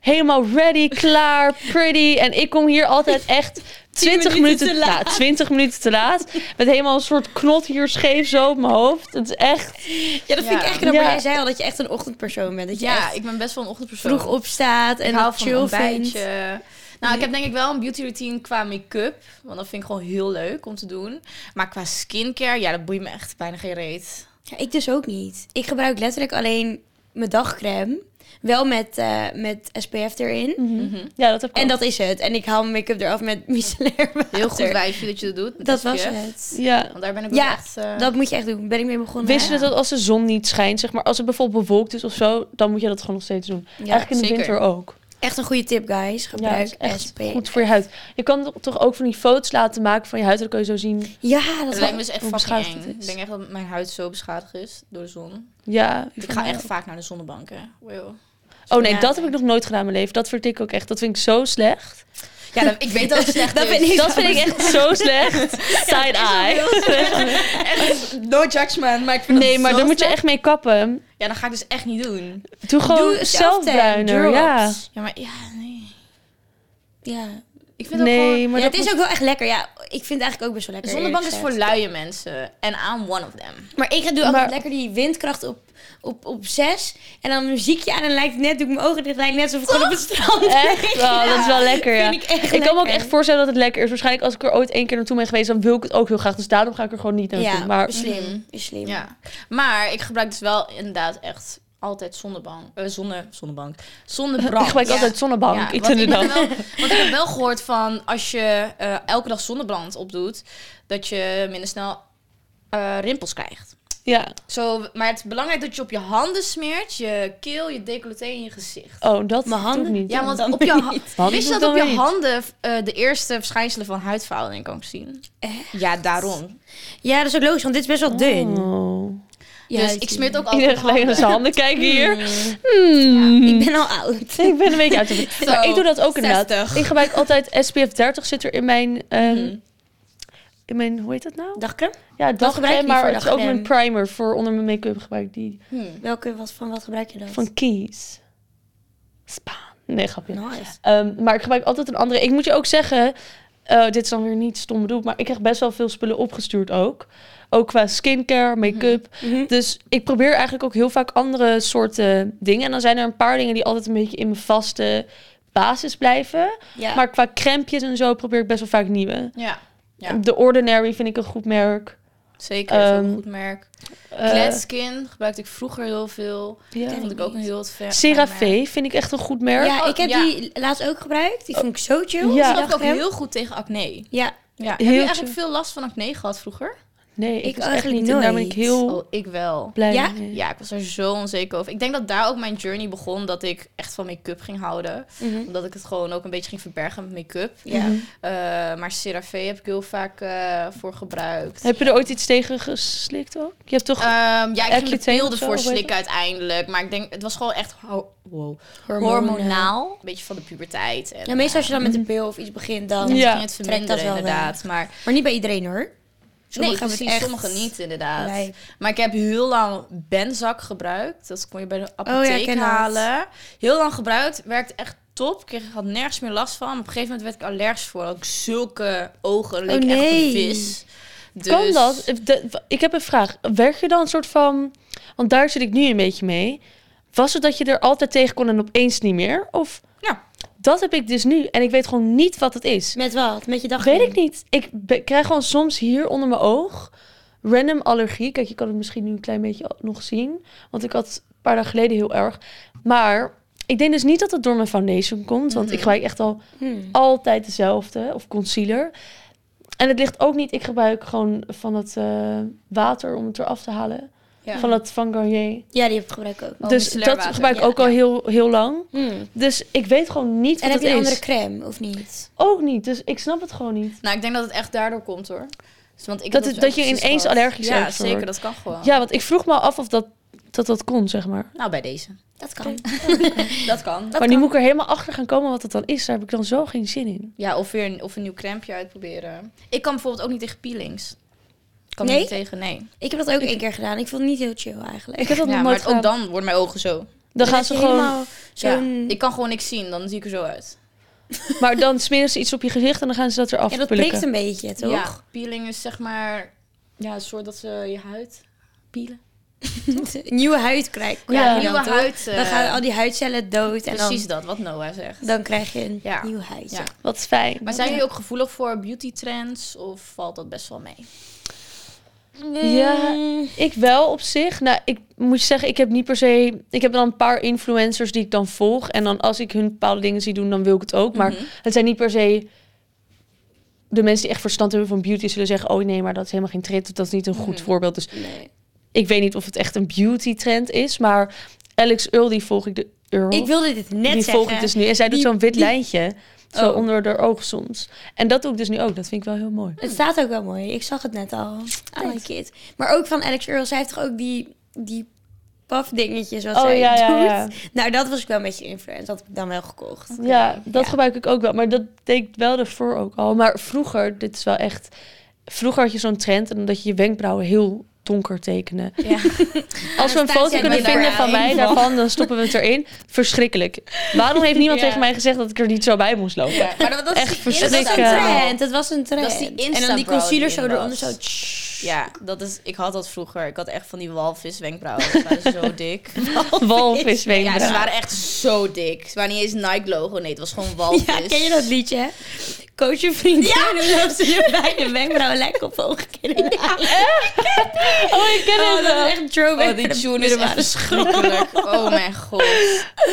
S2: Helemaal ready, klaar, pretty. En ik kom hier altijd echt 20 minuten,
S3: minuten te
S2: ja,
S3: laat.
S2: 20 minuten te laat. Met helemaal een soort knot hier scheef zo op mijn hoofd. Het is echt.
S3: Ja, dat vind
S1: Ja.
S3: ik echt knap. Maar
S2: Ja.
S3: jij zei al dat je echt een ochtendpersoon bent. Dat je
S1: Ja,
S3: echt
S1: ik ben best wel een ochtendpersoon.
S3: vroeg opstaat en
S1: Ik hou
S3: dat
S1: van
S3: chill
S1: een
S3: vindt.
S1: ontbijtje. Nou, ik heb denk ik wel een beauty routine qua make-up. Want dat vind ik gewoon heel leuk om te doen. Maar qua skincare, ja, dat boeit me echt bijna geen reet.
S3: Ja, ik dus ook niet. Ik gebruik letterlijk alleen mijn dagcreme. Wel met, eh, met SPF erin.
S1: Hm? Mhm.
S2: Ja, dat heb ik
S3: En
S2: ook.
S3: dat is het. En ik haal mijn make-up eraf met micellair water.
S1: Heel goed wijfje dat je dat doet. met
S3: Dat was
S1: SPF.
S3: het.
S2: Ja.
S1: Want daar ben ik
S3: Ja,
S1: wel echt... eh,
S3: Dat moet je echt doen. Ben ik mee begonnen.
S2: Wist je
S3: Oh, Ja.
S2: dat als de zon niet schijnt, zeg maar, als het bijvoorbeeld bewolkt is of zo, dan moet je dat gewoon nog steeds doen. Eigenlijk in de
S1: zeker.
S2: winter ook.
S3: Echt een goede tip, guys.
S2: Ja, dat
S3: Gebruik
S2: is echt
S3: SPF.
S2: goed voor je huid. Je kan toch ook van die foto's laten maken van je huid, dan kun je zo zien.
S3: Ja, dat
S1: Dat
S3: is
S1: lijkt me dus echt fucking
S2: hoe beschadigd
S1: eng.
S2: het is.
S1: Ik denk echt dat mijn huid zo beschadigd is door de zon.
S2: Ja.
S1: Ik ga echt vaak naar de zonnebank, hè. Wow.
S2: Oh nee,
S3: Ja.
S2: dat heb ik nog nooit gedaan in mijn leven. Dat vind ik ook echt. Dat vind ik zo slecht.
S1: Ja, dat- ik weet dat het slecht
S3: Dat
S1: is.
S3: vind ik-
S2: Dat vind ik echt zo slecht. Side eye.
S1: dus No judgment, maar ik vind
S2: Nee,
S1: dat
S2: maar
S1: zo
S2: daar moet je
S1: slecht.
S2: echt mee kappen.
S1: Ja, dat ga ik dus echt niet doen.
S2: Doe gewoon
S3: Doe
S2: zelfbruiner.
S3: self-tan,
S2: Ja.
S3: drops.
S1: Ja, maar ja, nee.
S3: Ja.
S1: Ik vind ook gewoon...
S2: Nee, maar
S3: Ja, het
S2: dat
S3: is ook wel echt lekker. Ja, ik vind het eigenlijk ook best wel
S1: De
S3: lekker.
S1: zonnebank is
S3: eerlijk
S1: voor
S3: gezegd.
S1: luie mensen. En I'm one of them.
S3: Maar ik doe altijd
S2: Maar-
S3: lekker die windkracht op, op, op zes. En dan muziekje aan en lijkt net, doe ik mijn ogen dicht, lijkt net alsof ik gewoon op het strand
S2: moet echt wel. Dat is wel Eh, lekker. Ja.
S3: Vind ik echt
S2: kan me ook
S3: lekker.
S2: echt voorstellen dat het lekker is. Waarschijnlijk als ik er ooit één keer naartoe ben geweest, dan wil ik het ook heel graag. Dus daarom ga ik er gewoon niet naartoe.
S3: Ja,
S2: maar
S3: is slim.
S1: Mhm.
S3: Is slim.
S1: Ja. Maar ik gebruik dus wel inderdaad echt altijd zonnebank. eh, zonne, zonnebank. Zonnebrand.
S2: ik gebruik
S1: Ja.
S2: altijd zonnebank.
S1: Ja,
S2: ik
S1: want,
S2: vind
S1: ik
S2: het
S1: heb
S2: dan.
S1: wel, want ik heb wel gehoord van als je eh, elke dag zonnebrand opdoet, dat je minder snel eh, rimpels krijgt.
S2: Ja.
S1: Zo, maar het is belangrijk dat je op je handen smeert, je keel, je decolleté en je gezicht.
S2: Oh, dat
S3: Mijn
S2: doe ik
S3: handen?
S2: niet.
S1: Ja, want
S3: dan
S1: op je ha-
S3: niet.
S2: Handen
S1: wist je
S2: doe
S1: dat
S2: ik
S1: op
S2: dan
S1: je
S2: niet.
S1: handen eh, de eerste verschijnselen van huidverhouding kan zien?
S3: Echt?
S1: Ja, daarom.
S3: Ja, dat is ook logisch, want dit is best wel dun.
S2: Oh.
S3: Ja,
S1: dus
S3: dat
S1: ik
S3: is-
S1: smeer het ook altijd
S2: Iedereen
S1: op mijn
S2: gelijk naar
S1: handen.
S2: zijn handen kijken hier. Hmm.
S3: Ik ben al oud.
S2: Ik ben een beetje uit de Maar ik doe dat ook inderdaad.
S1: 60.
S2: Ik gebruik altijd SPF 30 zit er in mijn... ehm, In mijn, hoe heet dat nou?
S3: Dagcreme?
S2: Ja,
S3: gebruik ik
S2: dagcreme,
S3: niet
S2: maar
S3: voor
S2: het is ook mijn
S3: dagcreme.
S2: primer voor onder mijn make-up gebruik ik die.
S1: Hmm.
S3: Welke, wat, van wat gebruik je dat?
S2: Van Kies. Spa. Nee, grapje.
S3: Nice.
S2: Ehm, maar ik gebruik altijd een andere. Ik moet je ook zeggen, eh, dit is dan weer niet stom bedoeld, maar ik krijg best wel veel spullen opgestuurd ook. Ook qua skincare, make-up.
S3: Mhm.
S2: Dus ik probeer eigenlijk ook heel vaak andere soorten dingen. En dan zijn er een paar dingen die altijd een beetje in mijn vaste basis blijven.
S3: Ja.
S2: Maar qua crempjes en zo probeer ik best wel vaak nieuwe.
S1: Ja, Ja.
S2: De Ordinary vind ik een goed merk.
S1: zeker. Dat is ook
S2: Ehm,
S1: een goed merk.
S2: Eh,
S1: Gladskin gebruikte ik vroeger heel veel.
S2: ja.
S1: vond ik ook een heel ver.
S2: CeraVe vind ik echt een goed merk.
S3: ja, ik heb
S1: Oh, Ja.
S3: die laatst ook gebruikt. Die vond ik zo chill.
S2: Ja.
S1: Ja,
S3: die
S1: dat ook
S3: dagcreme.
S1: heel goed tegen acne.
S3: Ja,
S1: Ja. Heb
S2: Heel
S1: je eigenlijk
S2: chill.
S1: veel last van acne gehad vroeger?
S2: Nee, ik, was
S3: Ik
S2: echt
S3: eigenlijk
S2: niet. En daar ben ik
S3: nooit.
S2: heel
S1: Oh, ik wel.
S2: blij
S3: Ja?
S2: mee.
S1: Ja, ik was er zo onzeker over. Ik denk dat daar ook mijn journey begon, dat ik echt van make-up ging houden.
S3: Mhm.
S1: Omdat ik het gewoon ook een beetje ging verbergen met make-up.
S3: ja.
S2: Mhm.
S1: Eh, maar CeraVe heb ik heel vaak eh, voor gebruikt.
S2: Heb je er ooit iets tegen geslikt ook? Je hebt toch...
S1: Ehm, ja, ik ging de
S2: Accutane of
S1: beelden
S2: zo,
S1: voor
S2: hoe heet
S1: slikken uiteindelijk. Maar ik denk, het was gewoon echt ho- wow,
S3: Hormonen.
S1: hormonaal. Een beetje van de puberteit. En,
S3: Ja, meestal als je dan met een pil of iets begint, dan...
S1: dan
S2: Ja.
S1: ging het
S3: Trekt dat
S1: verminderen
S3: wel
S1: inderdaad. Maar
S3: Maar niet bij iedereen hoor.
S1: nee,
S3: hebben het
S1: precies,
S3: echt
S1: sommigen niet inderdaad.
S3: lijp.
S1: Maar ik heb heel lang Benzak gebruikt. Dat kon je bij de apotheek
S3: Oh ken dat.
S1: halen. Heel lang gebruikt, werkte echt top. Ik kreeg- had nergens meer last van. Op een gegeven moment werd ik allergisch voor. Had ik zulke ogen, leek echt
S3: Oh, nee.
S1: een vis. Dus,
S2: Kan dat? Eh, De- ik heb een vraag. Werd je dan een soort van... Want daar zit ik nu een beetje mee. Was het dat je er altijd tegen kon en opeens niet meer? Of...
S1: Ja.
S2: Dat heb ik dus nu. En ik weet gewoon niet wat het is.
S3: Met wat? Met je dagcreme?
S2: Weet ik niet. Ik be- krijg gewoon soms hier onder mijn oog... Random allergie. Kijk, je kan het misschien nu een klein beetje nog zien. Want ik had een paar dagen geleden heel erg. Maar... Ik denk dus niet dat het door mijn foundation komt, want ik
S1: Mhm.
S2: gebruik echt al
S3: Hmm.
S2: altijd dezelfde, of concealer. En het ligt ook niet, ik gebruik gewoon van het eh, water om het eraf te halen.
S1: Ja.
S2: Van het Van Garnier.
S3: Ja, die heb ik gebruikt ook.
S1: Oh,
S2: dus
S1: micellar
S2: dat
S1: water.
S2: gebruik ik
S1: Ja,
S2: ook al heel, heel lang.
S3: Hmm.
S2: Dus ik weet gewoon niet
S3: En
S2: wat het
S3: heb je
S2: is.
S3: een andere crème, of niet?
S2: Ook niet, dus ik snap het gewoon niet.
S1: Nou, ik denk dat het echt daardoor komt hoor. Dus, want ik
S2: Dat
S1: heb
S2: het- dat
S1: wel
S2: je
S1: precies
S2: ineens
S1: gehad.
S2: allergisch
S1: Ja,
S2: ergens voor
S1: zeker,
S2: wordt.
S1: dat kan gewoon.
S2: Ja, want ik vroeg me af of dat dat, dat kon, zeg maar.
S1: Nou, bij deze.
S3: Dat kan.
S1: Dat kan.
S2: maar Oh, nu moet ik er helemaal achter gaan komen wat het dan is. Daar heb ik dan zo geen zin in.
S1: Ja, of weer een, of een nieuw crème uitproberen. Ik kan bijvoorbeeld ook niet tegen peelings. Ik kan
S3: Nee?
S1: niet tegen, nee.
S3: Ik heb dat ook één keer gedaan. Ik vond het niet heel chill eigenlijk.
S2: Ik heb dat
S1: Ja,
S2: nog
S1: maar
S2: nooit
S1: het- ook
S2: gedaan.
S1: dan worden mijn ogen zo.
S2: Dan gaan ze
S3: je
S2: gewoon...
S3: helemaal zo'n...
S1: Ja, ik kan gewoon niks zien, dan zie ik er zo uit.
S2: Maar dan smeren ze iets op je gezicht en dan gaan ze dat eraf
S3: Ja, dat prikt
S2: plukken.
S3: een beetje, toch?
S1: Ja, peeling is zeg maar ja, een soort dat ze je huid peelen.
S3: Nieuwe huid krijg
S2: Ja,
S3: krijg je
S1: nieuwe
S3: dan, toch?
S1: huid. eh,
S3: Dan gaan
S2: oh,
S3: al die huidcellen dood en
S1: precies
S3: dan,
S1: dat, wat Noah zegt.
S3: dan krijg je een
S1: Ja.
S3: nieuw huid.
S1: Ja.
S2: Wat fijn.
S1: Maar zijn jullie ook gevoelig voor beauty trends of valt dat best wel mee?
S2: Ja,
S3: Mm.
S2: ik wel op zich. Nou, ik moet je zeggen, ik heb niet per se... Ik heb dan een paar influencers die ik dan volg. En dan als ik hun bepaalde dingen zie doen, dan wil ik het ook. Maar
S1: Mhm.
S2: het zijn niet per se... De mensen die echt verstand hebben van beauty zullen zeggen... oh nee, maar dat is helemaal geen trend. Of dat is niet een goed
S1: Mhm.
S2: voorbeeld. Dus
S3: Nee.
S2: ik weet niet of het echt een beauty trend is. Maar Alex Earl, die volg ik... De, Earl?
S3: Ik wilde dit net
S2: die
S3: zeggen.
S2: volg ik dus nu. En zij doet
S3: Die-
S2: zo'n wit
S3: die-
S2: lijntje. Zo
S3: Oh.
S2: onder haar oog soms. En dat doe ik dus nu ook. Dat vind ik wel heel mooi.
S3: Het staat ook wel mooi. Ik zag het net al. I like it. Maar ook van Alex Earl. Zij heeft toch ook die, die pafdingetjes
S2: Oh,
S3: wat zij doet? Nou, dat was ik wel een beetje influenced. Dat heb ik dan wel gekocht.
S2: Ja, dat
S3: Ja.
S2: gebruik ik ook wel. Maar dat deed ik wel ervoor ook al. Maar vroeger, dit is wel echt... Vroeger had je zo'n trend en dat je je wenkbrauwen heel donker tekenen.
S1: Ja.
S2: Als we een
S3: Staan
S2: foto
S3: zijn
S2: kunnen
S1: we daar
S2: vinden van
S1: aan
S2: mij
S1: in.
S2: daarvan, dan stoppen we het erin. Verschrikkelijk. Waarom heeft niemand
S1: Ja.
S2: tegen mij gezegd dat ik er niet zo bij moest lopen?
S1: Ja, maar dat, dat
S2: Echt
S1: is die
S3: Dat was een
S2: verschrikkelijk,
S1: Insta-
S2: eh,
S3: trend. Dat was een trend.
S1: Dat is die
S3: en dan die
S1: Insta-brow
S3: concealer
S1: die
S3: zo
S1: in
S3: eronder.
S1: was.
S3: Zo. tsch.
S1: Ja, dat is, ik had dat vroeger. Ik had echt van die walvis wenkbrauwen. Ze waren zo dik. Ja, ze
S2: Walviswenkbrauwen.
S1: waren echt zo dik. Ze waren niet eens Nike logo. Nee, het was gewoon walvis.
S3: Ja, ken je dat liedje? hè? Coach je vriendin ja. omdat ze je bij de wenkbrauw lekker op ogen kunnen halen.
S2: Oh, ik ken
S3: Oh,
S2: het
S3: dat
S2: wel.
S3: is echt een throwback.
S1: Oh, die
S3: voor de
S1: tune is echt
S3: middelbare
S1: verschrikkelijk. Oh mijn god.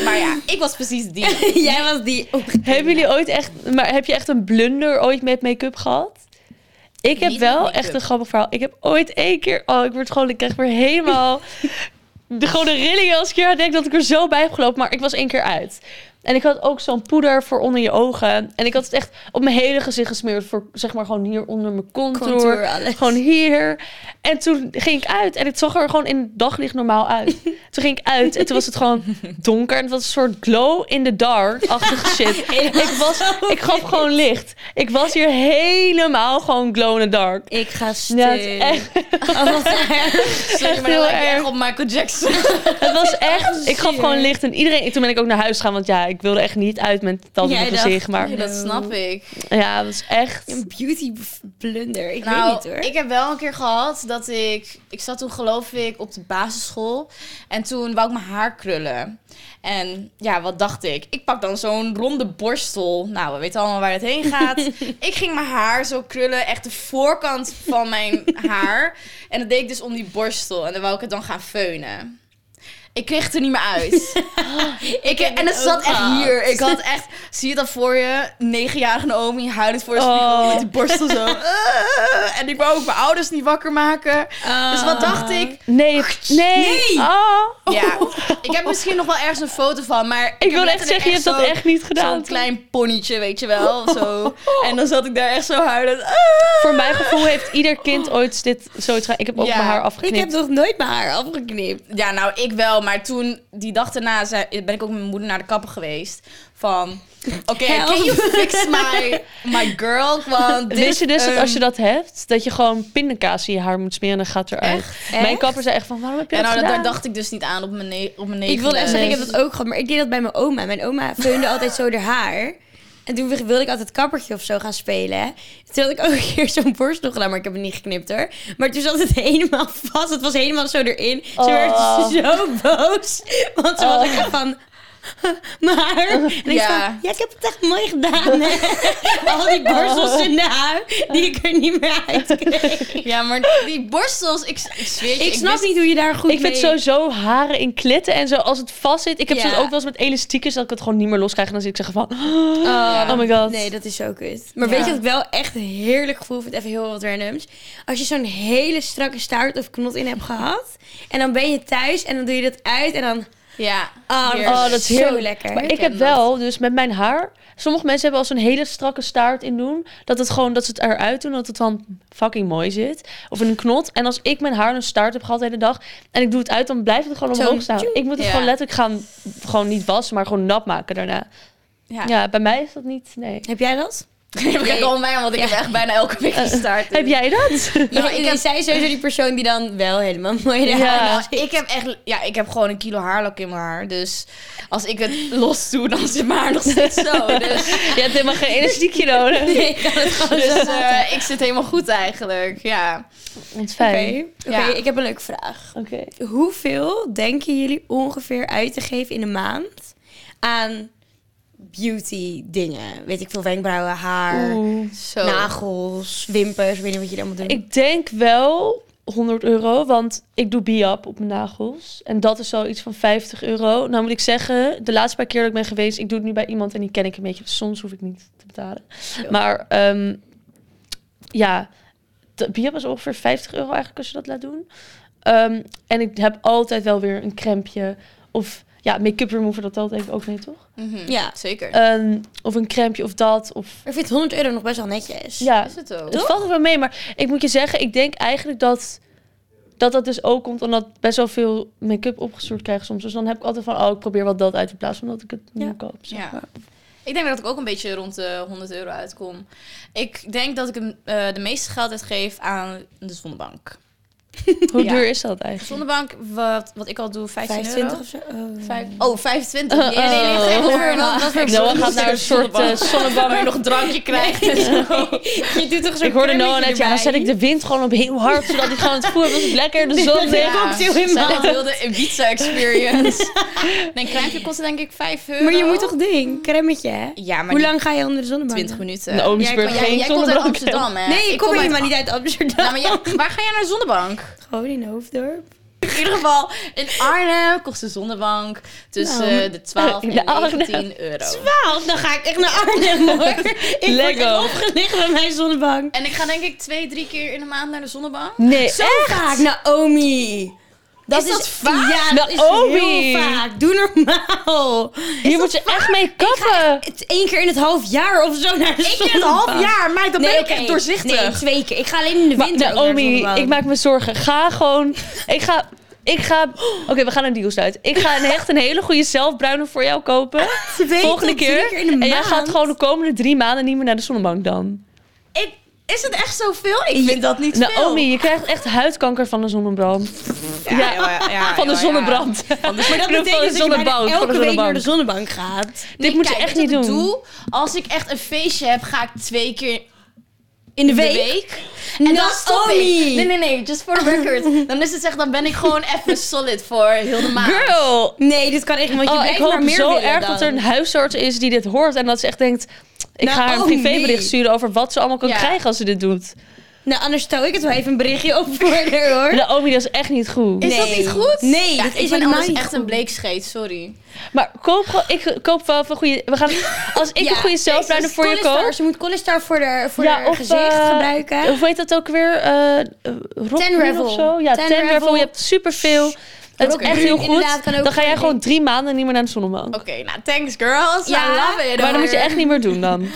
S1: Maar ja, ik was precies die.
S3: school. Jij was die opgetreden.
S2: Hebben jullie ooit echt, maar heb je echt een blunder ooit met make-up gehad? Ik heb
S1: Niet met
S2: wel
S1: make-up.
S2: echt een grappig verhaal. Ik heb ooit één keer, oh, ik word gewoon, ik krijg weer helemaal de gewoon de rillingen als ik hier aan denk dat ik er zo bij heb gelopen. Maar ik was één keer uit. En ik had ook zo'n poeder voor onder je ogen. En ik had het echt op mijn hele gezicht gesmeerd. Voor zeg maar gewoon hier onder mijn contour.
S3: Contour, alles.
S2: Gewoon hier. En toen ging ik uit. En het zag er gewoon in het daglicht normaal uit. Toen ging ik uit. En toen was het gewoon donker. En het was een soort glow in the dark-achtige shit. ik, was, ik gaf gewoon licht. Ik was hier helemaal gewoon glow in the dark.
S3: Ik ga stuk.
S2: Ja, het, is echt,
S3: Oh, wat erg.
S1: Sorry, maar dan
S2: heel
S1: lijkt je
S2: erg.
S1: echt op Michael Jackson.
S2: het was echt... Ik gaf gewoon licht. En iedereen... en Toen ben ik ook naar huis gegaan. Want ja, ik wilde echt niet uit met dat op
S3: Jij
S2: mijn
S3: dacht,
S2: gezicht. Maar
S1: Dat snap ik.
S2: ja, het was echt...
S3: Een beauty blunder. Ik
S1: nou,
S3: weet niet hoor.
S1: ik heb wel een keer gehad dat ik... Ik zat toen geloof ik op de basisschool. En toen wou ik mijn haar krullen. En ja, wat dacht ik? Ik pak dan zo'n ronde borstel. Nou, we weten allemaal waar het heen gaat. ik ging mijn haar zo krullen. Echt de voorkant van mijn haar. En dat deed ik dus om die borstel. En dan wou ik het dan gaan feunen. Ik kreeg het er niet meer uit. ik, en
S3: dit
S1: het zat
S3: ook
S1: echt
S3: gehad.
S1: hier. Ik had echt... Zie je dat voor je? Negenjarige Naomi huilend voor de
S2: Oh.
S1: spiegel met die borstel zo. Eh, en ik wou ook mijn ouders niet wakker maken. Dus
S2: Ah.
S1: wat dacht
S3: Ah.
S1: ik?
S2: Nee, het- nee.
S3: Nee.
S2: Ah.
S1: Ja, ik heb misschien nog wel ergens een foto van, maar...
S2: Ik
S1: Oh, heb
S2: wil echt
S1: letterlijk
S2: zeggen, je hebt dat
S1: zo'n-
S2: echt niet gedaan.
S1: Zo'n klein ponnetje, weet je wel. Zo. En dan zat ik daar echt zo huilend. Ah.
S2: Voor mijn gevoel heeft ieder kind ooit dit zoiets gedaan. Ik heb ook
S1: Ja,
S2: mijn haar
S1: ik
S3: Ik
S2: afgeknipt.
S3: heb nog nooit mijn haar afgeknipt.
S1: Ja, nou, ik wel. Maar toen, die dag daarna, zei- ben ik ook met mijn moeder naar de kapper geweest. Van, oké,
S3: Help.
S1: can you fix my, my girl? Want dit,
S2: Wist je dus dat
S1: ehm,
S2: als je dat hebt, dat je gewoon pindakaas in je haar moet smeren en dan gaat het eruit. Mijn
S3: Echt?
S2: kapper zei echt van, waarom heb je
S1: En
S2: dat
S1: nou, dat,
S2: gedaan?
S1: daar dacht ik dus niet aan op mijn, ne- op mijn
S3: Ik wilde echt
S1: negende.
S3: zeggen, ik heb dat ook gehad. Maar ik deed dat bij mijn oma. Mijn oma feunde altijd zo haar haar. En toen wilde ik altijd kappertje of zo gaan spelen. Toen had ik ook een keer zo'n borstel gedaan, maar ik heb het niet geknipt hoor. Maar toen zat het helemaal vast. Het was helemaal zo erin. Ze
S2: Oh.
S3: werd zo boos. Want ze was
S2: Oh.
S3: ook echt van... maar... En ik
S1: Ja.
S3: van, ja, ik heb het echt mooi gedaan. hè. Al die borstels in de haar die ik er niet meer uit kreeg.
S1: Ja, maar die borstels, ik, ik zweer je,
S3: Ik snap
S1: wist-
S3: niet hoe je daar goed
S2: ik vind
S3: mee-
S2: sowieso haren in klitten en zo, als het vast zit. Ik heb
S3: Ja.
S2: soms ook wel eens met elastiekjes dat ik het gewoon niet meer los krijg. En dan zit ik zeggen van,
S1: Ja.
S2: oh my god.
S3: Nee, dat is zo kut. Maar
S1: Ja.
S3: weet je wat ik wel echt een heerlijk gevoel vind? Even heel wat randoms. Als je zo'n hele strakke staart of knot in hebt gehad. En dan ben je thuis en dan doe je dat uit. En dan...
S1: Ja.
S3: Ah,
S1: Heerlijk.
S2: Oh, dat is
S3: Zo
S2: heerlijk.
S3: lekker.
S2: Maar
S1: Ik
S2: ik heb
S1: ken dat.
S2: wel, dus met mijn haar... Sommige mensen hebben al zo'n hele strakke staart in doen. Dat het gewoon, dat ze het eruit doen, dat het dan fucking mooi zit. Of in een knot. En als ik mijn haar een staart heb gehad de hele dag... en ik doe het uit, dan blijft het gewoon
S3: Zo,
S2: omhoog staan. Ik moet het
S1: Ja.
S2: gewoon letterlijk gaan, gewoon niet wassen, maar gewoon nat maken daarna.
S1: Ja.
S2: Ja, bij mij is dat niet, nee.
S3: Heb jij dat?
S1: Kijk al mij, want ik heb echt bijna elke
S3: Eh,
S1: week een staart.
S2: Heb jij dat?
S3: Ja,
S1: maar ik heb-
S3: Zij is Nou, sowieso die persoon die dan wel helemaal mooi haar
S2: Ja.
S1: Nou, ik heb echt, ja, ik heb gewoon een kilo haarlok in mijn haar. Dus als ik het los doe, dan zit mijn haar nog steeds zo. Dus,
S2: Je hebt helemaal geen elastiekje nodig.
S3: Nee, ik kan het gewoon
S1: dus
S3: zo.
S1: eh, ik zit helemaal goed eigenlijk. Ja.
S2: Wat
S3: Oké,
S2: fijn.
S3: Oké,
S1: Ja.
S3: ik heb een leuke vraag.
S2: Oké.
S3: Hoeveel denken jullie ongeveer uit te geven in een maand aan beauty dingen? Weet ik veel, wenkbrauwen, haar,
S2: Oeh.
S1: Zo.
S3: Nou, nagels, wimpers, ik weet niet wat je dan moet doen.
S2: Ik denk wel 100 euro, want ik doe biap op mijn nagels. En dat is zoiets van 50 euro. Nou moet ik zeggen, de laatste paar keer dat ik ben geweest, ik doe het nu bij iemand en die ken ik een beetje. Dus soms hoef ik niet te betalen. Maar ehm, ja, de biap is ongeveer 50 euro eigenlijk als je dat laat doen. Ehm, en ik heb altijd wel weer een crempje of ja, make-up remover, dat telt even ook mee, toch?
S1: Mhm.
S3: Ja. Eh,
S1: Zeker.
S2: Ehm, of een crempje of dat. Of,
S3: Maar ik vind 100 euro nog best wel netjes.
S2: ja,
S1: is het ook.
S3: eh,
S2: het valt er wel mee, maar ik moet je zeggen, ik denk eigenlijk dat dat, dat dus ook komt omdat best wel veel make-up opgestuurd krijg soms. Dus dan heb ik altijd van, oh, ik probeer wat dat uit te plaatsen, omdat ik het niet
S3: Ja.
S2: meer koop. zeg
S1: Ja.
S2: maar.
S1: Ik denk dat ik ook een beetje rond de 100 euro uitkom. Ik denk dat ik hem, eh, de meeste geld uitgeef aan de zonnebank.
S2: Hoe
S1: Ja.
S2: duur is dat
S1: De
S2: eigenlijk?
S1: zonnebank, wat, wat ik al doe, 15
S3: 25
S1: euro.
S3: of zo. Oh.
S1: Vijf- oh, 25. Nee, nee,
S2: Oh.
S1: nee, nee, over wat, wat voor
S2: Noah gaat
S1: zonnebank-
S2: naar een soort eh, zonnebank.
S1: waar je nog een drankje krijgt. en zo.
S3: Je doet toch zo'n
S2: Ik hoorde Noah
S3: kremmetje
S2: net, ja, dan zet ik de wind gewoon op heel hard, zodat ik gewoon het voer was lekker de zon in.
S1: Ja,
S3: cocktail in
S1: zij
S3: maand.
S1: had heel de Ibiza-experience. nee, een kruimpje kostte denk ik 5 euro.
S3: erbij. Maar je moet toch ding, kremmetje hè?
S1: Ja, maar
S3: Hoe lang ga je onder de zonnebank?
S1: 20 minuten.
S2: In Oomsburg
S1: jij,
S2: geen
S1: jij komt uit
S2: zonnebank.
S1: Amsterdam, hè?
S3: Nee, ik, kom,
S1: uit
S3: helemaal niet uit Amsterdam.
S1: Nou, maar jij- waar ga jij naar de zonnebank?
S3: Gewoon in Hoofddorp.
S1: In ieder geval, in Arnhem kost de zonnebank tussen
S3: Nou,
S1: eh, de 12
S2: in
S1: en
S2: Arnhem.
S1: 19 euro.
S3: Twaalf, dan ga ik echt naar Arnhem hoor. ik word
S2: Lego.
S3: echt opgelicht bij mijn zonnebank.
S1: En ik ga denk ik twee, drie keer in de maand naar de zonnebank.
S2: Nee,
S3: Zo vaak, Naomi. Dat
S1: Is dat vaak?
S3: Ja, dat
S2: Naomi.
S3: is heel vaak. Doe normaal.
S2: hier moet je echt mee kappen.
S3: Het één keer in het half jaar of zo naar de zonnebank.
S1: jaar, maar dan
S3: oké. Nee, twee keer. Ik ga alleen in de
S2: Maar
S3: winter ook naar de
S2: Naomi,
S3: zonnebank.
S2: ik maak me zorgen. Ga gewoon. Ik ga. Ik ga. Oké, we gaan een deal sluiten. Ik ga een echt een hele goede zelfbruiner voor jou kopen.
S3: Twee
S2: Volgende
S3: tot drie
S2: keer.
S3: keer in de
S2: en jij
S3: maand.
S2: gaat gewoon de komende drie maanden niet meer naar de zonnebank dan.
S1: Ik, is het echt zoveel? Ik vind dat niet
S2: Naomi, je krijgt echt huidkanker van de zonnebrand.
S1: veel. Ja, ja, ja, ja,
S2: van de
S1: ja.
S2: zonnebrand.
S3: Maar dat
S2: Ik bedoel,
S3: betekent dat je bijna
S2: zonnebank, van
S3: elke
S2: de
S3: week naar de
S2: zonnebank.
S3: zonnebank gaat.
S1: Nee,
S2: Dit moet je
S1: kijk,
S2: echt
S1: weet
S2: niet
S1: wat ik
S2: doen.
S1: doe? Als ik echt een feestje heb, ga ik twee keer
S3: In de
S1: de
S3: week?
S1: week. En dan stop ik.
S3: Naomi.
S1: Nee, nee, nee, just for the record. Dan is het echt, dan ben ik gewoon even solid voor heel de maand.
S2: Girl,
S3: Nee, dit kan echt niet, want je
S2: Oh, ik
S3: blijft maar
S2: hoop
S3: meer
S2: zo
S3: willen
S2: erg
S3: dan.
S2: dat er een huisarts is die dit hoort. En dat ze echt denkt... Ik
S3: Nou,
S2: ga haar een
S3: oh, nee.
S2: privébericht sturen over wat ze allemaal kan
S1: Ja.
S2: krijgen als ze dit doet.
S3: Nou, anders stel ik het wel even een berichtje op voor haar, hoor.
S2: Naomi, Nou, dat is echt niet goed.
S1: Is dat
S3: Nee.
S1: niet goed?
S3: Nee, dat
S1: ik
S3: is
S1: ben
S3: helemaal
S1: anders
S3: niet
S1: echt
S3: goed.
S1: een bleekscheet, sorry.
S2: Maar koop gewoon, ik koop wel van goede. We gaan, als ik
S3: Ja,
S2: een goede zelfbruiner voor je
S3: Colistar.
S2: koop.
S3: Ze moet Colistar voor haar voor
S2: Ja,
S3: haar
S2: of,
S3: gezicht
S2: eh,
S3: gebruiken.
S2: Hoe heet dat ook weer? Eh eh, Rockpool
S3: Tenravel.
S2: of zo? Ja,
S3: Tenravel.
S2: Tenravel. Je hebt superveel. Het
S1: Rockpool.
S2: is echt heel
S3: Inderdaad,
S2: goed.
S3: kan ook
S2: Dan ga jij
S3: goed.
S2: gewoon drie maanden niet meer naar de zonnebank.
S1: Oké, nou, thanks girls.
S3: Ja,
S1: I love it.
S2: Maar dat moet je
S1: hoor.
S2: echt niet meer doen dan.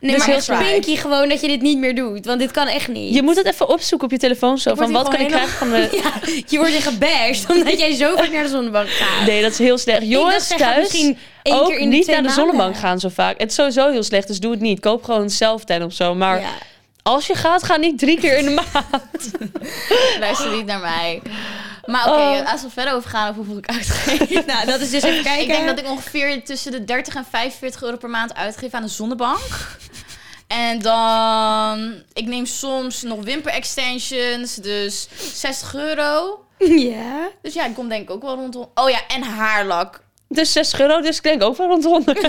S3: Nee,
S2: is
S3: maar
S2: heel
S3: echt
S1: saai.
S3: Pinky gewoon dat je dit niet meer doet. Want dit kan echt niet.
S2: Je moet het even opzoeken op je telefoon zo.
S1: word
S2: Van
S1: hier
S2: wat kan ik
S1: gewoon
S2: krijgen van de...
S3: Ja, je wordt er gebashed omdat jij zo vaak naar de zonnebank gaat.
S2: Nee, dat is heel slecht. Jongens,
S3: zij gaat
S2: thuis
S3: misschien één keer
S2: ook
S3: in de
S2: niet
S3: twee
S2: naar de
S3: maanden.
S2: zonnebank gaan zo vaak. Het is sowieso heel slecht, dus doe het niet. Koop gewoon een self-tan of zo. Maar
S3: Ja.
S2: als je gaat, ga niet drie keer in de maand.
S1: Luister niet naar mij. Maar oké,
S2: Oh.
S1: als we verder over gaan over hoeveel ik uitgeef.
S3: Nou, dat is dus even kijken.
S1: Ik denk dat ik ongeveer tussen de 30 en 45 euro per maand uitgeef aan de zonnebank. En dan, ik neem soms nog wimper-extensions, dus 60 euro.
S3: Ja.
S1: Dus ja, ik kom denk ik ook wel rondom. Oh ja, en haarlak.
S2: Dus 60 euro, dus ik denk ook wel rond de 100.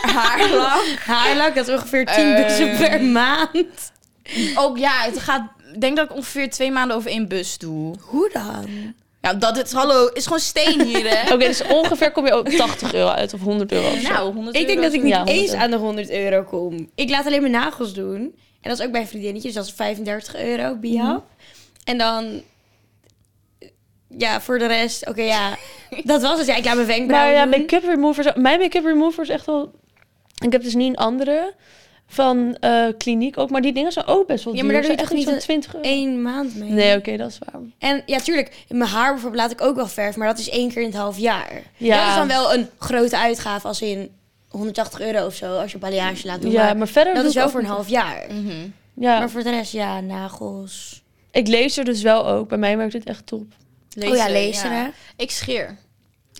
S1: Haarlak.
S3: Haarlak, dat is ongeveer 10
S1: Eh.
S3: bussen per maand.
S1: Ook ja, het gaat... Ik denk dat ik ongeveer twee maanden over één bus doe.
S3: Hoe dan?
S1: Ja, dat het... Hallo, is gewoon steen hier, hè?
S2: Oké, dus ongeveer kom je ook 80 euro uit of 100 euro. of zo.
S1: Nou, 100
S3: Ik denk dat ik niet
S2: Ja, 100
S3: eens
S2: euro.
S3: aan de 100 euro kom. Ik laat alleen mijn nagels doen. En dat is ook bij vriendinnetjes. Dat is 35 euro, biap. En dan... Ja, voor de rest... Oké, ja. Dat was het. Nou Ja, ik laat mijn
S2: Maar
S3: wenkbrauwen
S2: Nou ja,
S3: doen.
S2: make-up removers. Mijn make-up remover is echt wel. Ik heb dus niet een andere van eh, kliniek ook, maar die dingen zijn ook best wel
S3: Ja,
S2: duur.
S3: maar daar
S2: Ze
S3: doe je
S2: zijn
S3: toch
S2: echt zo'n 20 euro.
S3: Eén maand mee.
S2: Nee, oké, dat is waar.
S3: En ja, tuurlijk. Mijn haar bijvoorbeeld laat ik ook wel verven. Maar dat is één keer in het half jaar.
S2: Ja.
S3: Dat is dan wel een grote uitgave als in 180 euro of zo. Als je balayage laat doen.
S2: Ja,
S3: maar
S2: maar verder.
S3: dat
S2: doe ik
S3: is wel
S2: ook
S3: voor een
S2: niet-
S3: half jaar.
S1: Mhm.
S2: Ja,
S3: Maar voor de rest, ja, nagels.
S2: ik lees er dus wel ook. Bij mij werkt het echt top.
S3: oh ja,
S1: Lezen,
S3: lezen.
S1: ja.
S3: hè?
S1: Ik scheer.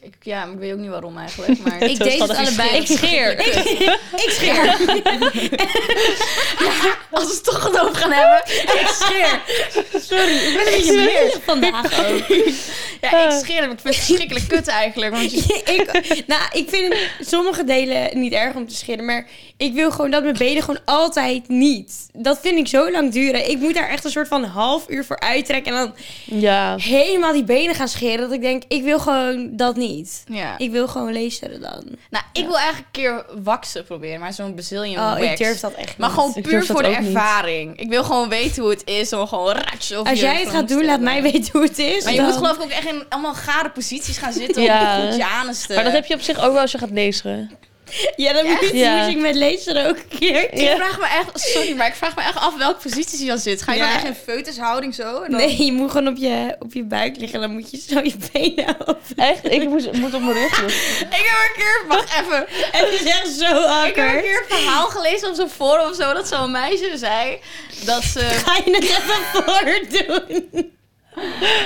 S1: Ik, ja, maar ik weet ook niet waarom eigenlijk. Maar
S3: Ik deed het allebei.
S2: Ik scheer.
S3: Ik scheer.
S1: als we het toch genoeg gaan hebben.
S3: ik scheer. Sorry, ik ben een beetje meer vandaag ook.
S1: Ja, ik
S3: Ah.
S1: scheer hem. Ik vind het verschrikkelijk kut eigenlijk. Want je...
S3: ik, nou, ik vind sommige delen niet erg om te scheren. Maar ik wil gewoon dat mijn benen gewoon altijd niet. Dat vind ik zo lang duren. Ik moet daar echt een soort van half uur voor uittrekken. En dan
S2: Ja.
S3: helemaal die benen gaan scheren. Dat ik denk, ik wil gewoon dat niet.
S1: Ja.
S3: Ik wil gewoon lezen dan.
S1: Nou, ik wil eigenlijk een keer waksen proberen. Maar zo'n Brazilian
S3: Oh,
S1: wax.
S3: ik durf dat echt niet.
S1: Maar gewoon
S2: Ik
S1: puur
S2: durf dat
S1: voor de
S2: ook niet.
S1: ervaring. Ik wil gewoon weten hoe het is om gewoon ratje of
S3: Als jij het gaat doen, laat mij weten hoe het is.
S1: eh, Maar je moet
S3: Dan-
S1: geloof ik ook echt in allemaal gare posities gaan zitten
S2: Ja.
S1: om goed je anus te...
S2: Maar dat heb je op zich ook wel als je gaat lezen.
S3: Ja, dan moet je
S2: Ja.
S3: moest ik met lezen ook een keer.
S1: Ik
S2: Ja.
S1: vraag me echt... Sorry, maar ik vraag me echt af welke posities je dan zit. Ga je
S3: Ja.
S1: dan echt in feutushouding zo? En dan...
S3: Nee, je moet gewoon op je, op je buik liggen. Dan moet je zo je benen open.
S2: Echt? Ik moest, moet op mijn rug. liggen.
S1: Ik heb een keer... Wacht even.
S3: Het is echt zo
S1: Ik heb een
S3: awkward.
S1: keer een verhaal gelezen op zo'n forum of zo... dat zo'n meisje zei dat ze...
S3: Ga je het even voordoen?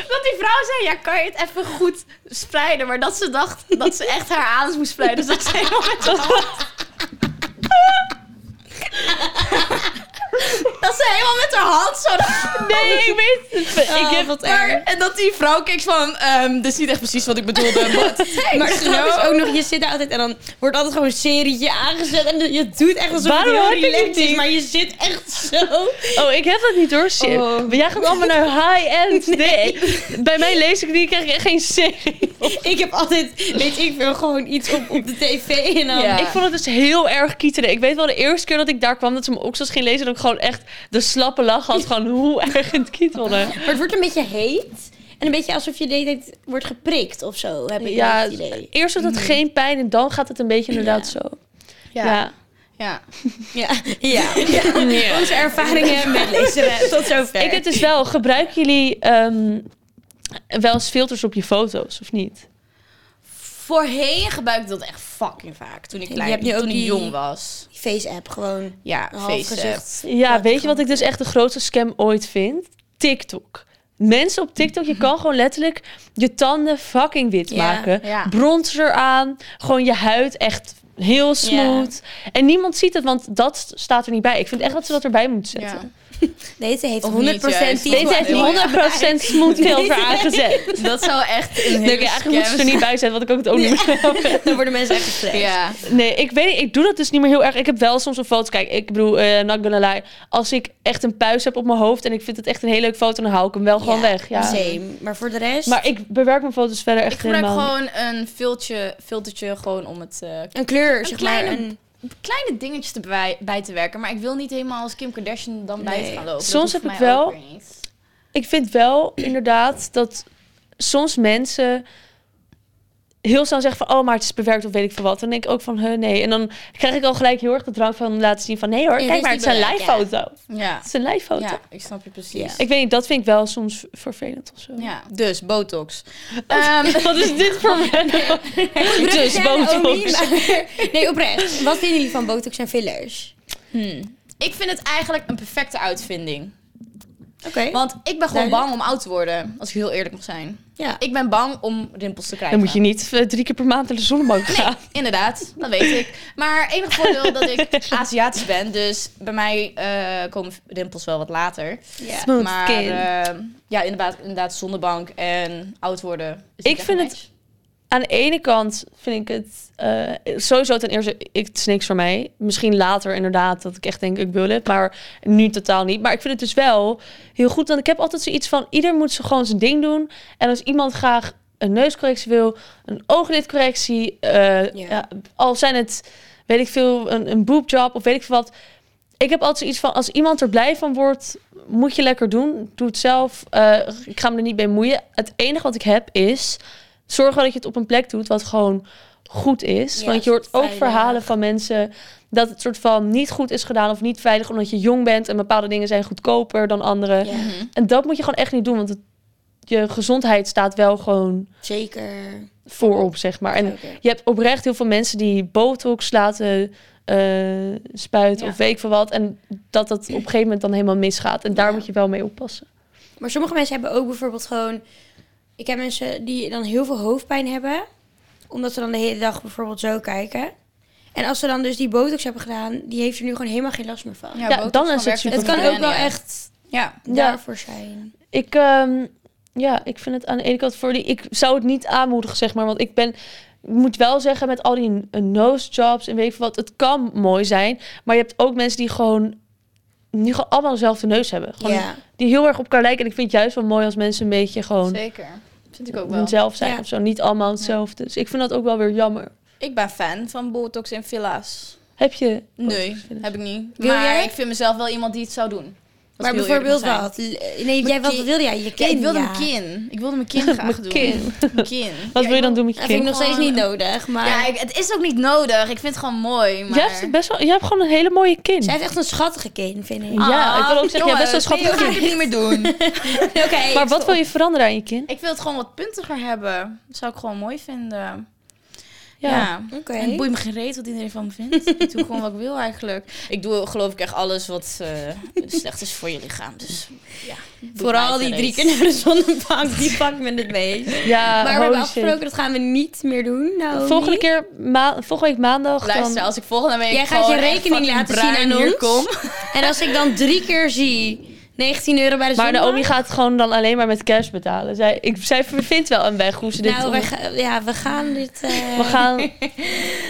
S1: Dat die vrouw zei, ja, kan je het even goed spreiden? Maar dat ze dacht dat ze echt haar anus moest spreiden. Dus dat ze helemaal met haar hand... dat ze helemaal met haar hand zo...
S2: Nee, ik weet het. Ik heb
S3: wat
S1: Maar, en dat die vrouw keek van, ehm dit is niet echt precies wat ik bedoelde. But
S3: Maar het
S1: thanks,
S3: grap is
S1: no.
S3: ook nog, je zit daar altijd en dan wordt altijd gewoon een serietje aangezet. En je doet echt alsof het
S2: Waarom
S3: heel
S2: had ik dit
S3: relaxed is,
S2: niet?
S3: maar je zit echt zo.
S2: Oh, ik heb dat niet hoor, Sip.
S3: Ah. Oh.
S2: Maar jij gaat allemaal naar high-end. Nee. ik- Bij mijn leesknie krijg ik echt geen serie.
S3: Ik heb altijd, weet ik veel, gewoon iets op, op de tv. En dan...
S1: Ja.
S2: Ik vond het dus heel erg kieteren. Ik weet wel de eerste keer dat ik daar kwam, dat ze mijn oksels ging lezen, dat ik gewoon echt de slappe lach had. Gewoon hoe erg het kietelde.
S3: Maar het wordt een beetje heet. En een beetje alsof je de hele tijd wordt geprikt of zo, heb ik
S2: Ja,
S3: het idee.
S2: eerst doet het geen pijn en dan gaat het een beetje inderdaad zo. Ja.
S1: ja.
S3: Ja, ja.
S2: Ja.
S3: Onze ervaringen met lezen. Tot zover.
S2: Ik heb dus wel, gebruiken jullie ehm, wel eens filters op je foto's of niet?
S1: Voorheen gebruikte ik dat echt fucking vaak. Toen ik
S3: Je
S1: klein,
S3: hebt nu ook
S1: toen ik
S3: die-
S1: jong was.
S3: Die face-app gewoon.
S1: Ja,
S3: Een half
S1: feesten.
S3: gezicht.
S2: Ja, weet je wat ik dus echt de grootste scam ooit vind? TikTok. Mensen op TikTok, je kan gewoon letterlijk je tanden fucking wit
S3: Ja,
S2: maken.
S1: ja.
S2: Bronzer aan, gewoon je huid echt heel smooth. En niemand ziet het, want dat st- staat er niet bij. Ik vind echt dat ze dat erbij moeten
S1: Ja.
S2: zetten.
S3: Deze heeft
S1: Of
S3: 100%
S1: niet juist.
S3: die-
S2: Deze
S1: Ja.
S2: heeft 100% smooth filter aangezet.
S1: Dat zou echt een
S2: Nee, oké,
S1: hele
S2: eigenlijk moeten ze er
S1: scam
S2: niet bij zetten, want ik ook het ook niet meer
S3: Dan worden mensen echt gestresst.
S1: zijn. Ja.
S2: Nee, ik weet niet. Ik doe dat dus niet meer heel erg. Ik heb wel soms een foto. Kijk, ik bedoel, eh not gonna lie. Als ik echt een puis heb op mijn hoofd en ik vind het echt een hele leuke foto, dan hou ik hem wel gewoon weg. Ja.
S3: Same. Maar voor de rest...
S2: Maar ik bewerk mijn foto's verder echt
S1: Ik gebruik
S2: helemaal.
S1: gewoon een filtje, filtertje gewoon om het eh,
S3: een kleur, zeg maar.
S1: kleine-
S3: Een...
S1: kleine dingetjes te bij, bij te werken. Maar ik wil niet helemaal als Kim Kardashian dan bij
S3: Nee.
S1: te gaan lopen. Dat
S2: Soms
S1: hoeft
S2: heb ik
S1: mij ook
S2: wel-
S1: weer niet.
S2: Ik vind wel inderdaad dat soms mensen heel snel zeggen van... oh, maar het is bewerkt of weet ik veel wat. Dan denk ik ook van, huh, nee. En dan krijg ik al gelijk heel erg de drang van laten zien van... nee hoor,
S3: Ja,
S2: kijk
S3: dit is
S2: maar, het
S3: niet
S2: is een
S3: bewerkt,
S2: live
S3: ja.
S2: foto.
S1: Ja.
S2: Het is een live foto.
S1: ja, ik snap je precies.
S3: Ja.
S2: Ik weet niet, dat vind ik wel soms vervelend of zo.
S1: Ja. Dus, botox. Ehm,
S2: Wat is dit voor mij? Dus, botox.
S3: oh, Nee, oprecht. Wat vinden jullie van botox en fillers?
S1: hmm. Ik vind het eigenlijk een perfecte uitvinding.
S3: Oké.
S1: Want ik ben gewoon
S3: Duidelijk.
S1: bang om oud te worden. Als ik heel eerlijk mag zijn.
S3: Ja.
S1: Ik ben bang om rimpels te krijgen.
S2: Dan moet je niet eh, drie keer per maand naar de zonnebank gaan.
S1: Inderdaad, dat weet ik. Maar enig voordeel dat ik Aziatisch ben. Dus bij mij eh, komen rimpels wel wat later.
S3: Ja.
S2: Smooth
S1: maar
S2: skin.
S1: eh, ja, inderdaad, inderdaad zonnebank en oud worden. is
S2: Ik
S1: niet echt
S2: vind
S1: een
S2: het-
S1: match.
S2: aan de ene kant vind ik het eh, sowieso ten eerste, ik, het is niks voor mij. Misschien later inderdaad dat ik echt denk ik wil het, maar nu totaal niet. Maar ik vind het dus wel heel goed, want ik heb altijd zoiets van ieder moet zo gewoon zijn ding doen. En als iemand graag een neuscorrectie wil, een ooglidcorrectie, eh,
S3: Ja.
S2: ja, al zijn het weet ik veel een, een boobjob of weet ik veel wat. Ik heb altijd zoiets van als iemand er blij van wordt, moet je lekker doen. Doe het zelf. Eh, ik ga me er niet mee moeien. Het enige wat ik heb is zorg wel dat je het op een plek doet wat gewoon goed is.
S3: Ja,
S2: Want je hoort ook
S3: veilig.
S2: verhalen van mensen dat het soort van niet goed is gedaan of niet veilig omdat je jong bent en bepaalde dingen zijn goedkoper dan andere.
S3: Ja,
S1: Mhm.
S2: En dat moet je gewoon echt niet doen, want het- je gezondheid staat wel gewoon
S3: zeker.
S2: voorop, zeg maar. En
S3: Zeker.
S2: je hebt oprecht heel veel mensen die botox laten eh, spuiten
S1: Ja.
S2: of weet ik veel wat. En dat dat op een gegeven moment dan helemaal misgaat. En daar
S3: Ja.
S2: moet je wel mee oppassen.
S3: Maar sommige mensen hebben ook bijvoorbeeld gewoon... Ik heb mensen die dan heel veel hoofdpijn hebben. Omdat ze dan de hele dag bijvoorbeeld zo kijken. En als ze dan dus die botox hebben gedaan... die heeft er nu gewoon helemaal geen last meer van.
S2: Ja,
S1: botox
S2: dan
S1: kan
S2: is het
S1: werken
S2: super
S3: het
S1: tot
S3: kan ook wel
S1: millennium.
S3: echt
S1: Ja.
S2: Ja.
S3: daarvoor zijn.
S2: Ik, ehm, ja, ik vind het aan de ene kant voor die. Ik zou het niet aanmoedigen, zeg maar. Want ik ben. Ik moet wel zeggen, met al die eh, nose jobs en weet ik veel wat, het kan mooi zijn. Maar je hebt ook mensen die gewoon. die gewoon allemaal dezelfde neus hebben. Gewoon,
S3: ja.
S2: Die heel erg op elkaar lijken. En ik vind het juist wel mooi als mensen een beetje gewoon.
S1: Zeker. Vind ik ook wel.
S2: hunzelf zijn
S3: Ja.
S2: of zo. Niet allemaal hetzelfde. Dus ik vind dat ook wel weer jammer.
S1: Ik ben fan van botox en villa's.
S2: Heb je.
S1: Nee,
S2: Botox.
S1: heb ik niet.
S3: Wil
S1: maar
S3: jij?
S1: ik vind mezelf wel iemand die het zou doen. Als
S3: Maar
S1: ik heel eerlijk
S3: bijvoorbeeld
S1: moet zijn.
S3: wat? L- Nee,
S1: Mijn
S3: jij, wat
S1: kin-
S3: wilde jij? Je
S1: Ja,
S3: kind,
S1: ik wilde
S3: ja.
S1: mijn kin. Ik wilde mijn kin graag
S2: Mijn
S1: doen.
S2: kin.
S1: Mijn kin.
S2: Wat
S1: Ja,
S2: wil je dan
S1: ik
S2: doen met je
S3: Dat vind
S2: kind?
S3: ik nog steeds
S1: Gewoon-
S3: niet nodig, maar...
S1: Ja, ik- het is ook niet nodig. Ik vind het gewoon mooi. Maar...
S2: Jij hebt, het best wel, jij hebt gewoon een hele mooie kind.
S3: Zij heeft echt een schattige kind, vind ik.
S2: Ja, ik wil
S1: Ah,
S2: ook zeggen, jij hebt best wel een schattig
S1: Ik het niet meer doen.
S3: Oké.
S2: Maar wat wil je veranderen aan je kind?
S1: ik wil het gewoon wat puntiger hebben. Dat zou ik gewoon mooi vinden. Ja.
S2: Ja.
S3: Oké.
S1: En het boeit me gereed wat iedereen van me vindt. ik doe gewoon wat ik wil eigenlijk. Ik doe geloof ik echt alles wat eh, slecht is voor je lichaam. Dus ja. doet
S3: Vooral
S1: mij
S3: die drie
S1: gereed.
S3: keer naar de zonnebank, die pakt me het meest.
S2: Ja,
S3: Maar we
S2: holy
S3: hebben
S2: shit.
S3: afgesproken, dat gaan we niet meer doen. Nou,
S2: Volgende keer, ma volgende week maandag.
S1: Luister,
S2: dan...
S1: als ik volgende week
S3: Jij gaat je
S1: gewoon echt
S3: rekening
S1: fucking
S3: laten zien
S1: bruin
S3: aan
S1: hier
S3: ons.
S1: kom.
S3: En als ik dan drie keer zie 19 euro bij de
S2: Maar
S3: zonnebank.
S2: Naomi gaat gewoon dan alleen maar met cash betalen. Zij, ik, zij vindt wel een weg hoe ze dit
S3: Nou,
S2: om-
S3: wij ga- ja, we gaan dit... eh,
S2: We gaan...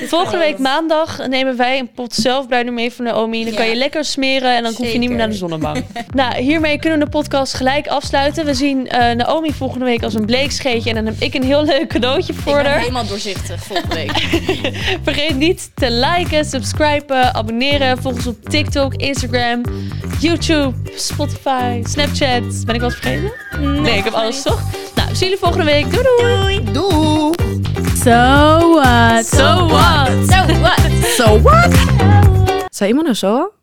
S2: Volgende week maandag nemen wij een pot zelfbruiner mee van Naomi. Dan
S3: Ja.
S2: kan je lekker smeren en dan hoef je niet
S3: Zeker.
S2: meer naar de zonnebank. nou, hiermee kunnen we de podcast gelijk afsluiten. We zien eh, Naomi volgende week als een bleekscheetje. En dan heb ik een heel leuk cadeautje voor
S1: Ik ben
S2: haar.
S1: helemaal doorzichtig volgende week.
S2: Vergeet niet te liken, subscriben, abonneren. Volg ons op TikTok, Instagram, YouTube, Spotify, Snapchat. Ben ik wat vergeten? Nee, ik heb alles toch? Nou, we zien jullie volgende week. Doei doei!
S1: Doei.
S4: So what?
S2: So what?
S1: So what?
S4: Sa imo na soa?